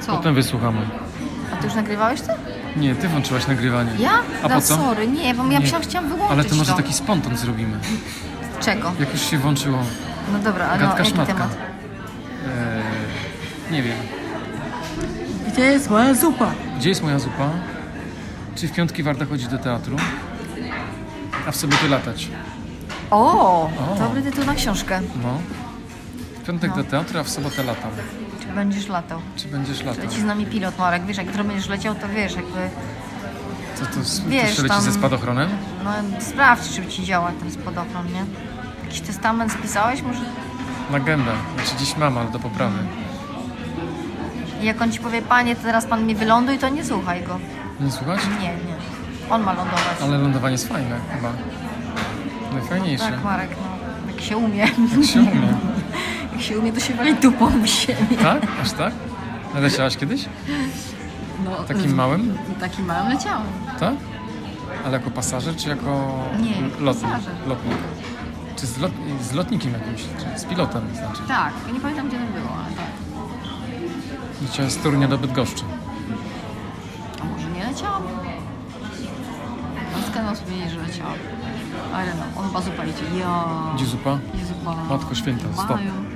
Co? Potem wysłuchamy. A ty już nagrywałeś to? Nie, ty włączyłaś nagrywanie. Ja? A no po co? sorry, nie, bo ja Nie. myślałam, chciałam wyłączyć Ale to może to. taki spontan zrobimy. Czego? Jak już się włączyło. No dobra, ale no, Gadka jaki szmatka. temat? Eee, nie wiem. Gdzie jest moja zupa? Gdzie jest moja zupa? Czy w piątki warto chodzić do teatru? A w sobotę latać. O, O. dobry tytuł na książkę. No. W piątek No. do teatru, a w sobotę latam. Czy będziesz latał? Czy będziesz latał? Leci z nami pilot, Marek, wiesz, jak jutro będziesz leciał, to wiesz, jakby, Co to, s- to Wiesz, się leci tam- ze spadochronem? no sprawdź, czy ci działa ten spadochron, nie? Jakiś testament spisałeś może? Na gębę. Znaczy dziś mam, ale do poprawy. I jak on ci powie, panie, to teraz pan mnie wyląduj, to nie słuchaj go. Nie słuchać? Nie, nie. On ma lądować. Ale lądowanie jest fajne chyba. Najfajniejsze. Tak, Marek, no. Jak się umie. Jak się umie. Jak się umie, to się wali dupą w ziemię. Tak? Aż tak? Leciałaś kiedyś? No, Takim małym? Takim małym leciałam. Tak? Ale jako pasażer czy jako Nie, l- jako lotnik? pasażer. lotnik. Czy z, lot, z lotnikiem jakimś? Czy z pilotem znaczy? Tak, ja nie pamiętam gdzie to było, ale tak. Leciałem z Torunia do Bydgoszczy. A może nie leciałam? A skandal sobie nie, że leciałam. Ale no, on chyba zupa idzie. Ja. Gdzie zupa? Jezu, Matko Święta, stop. Maju.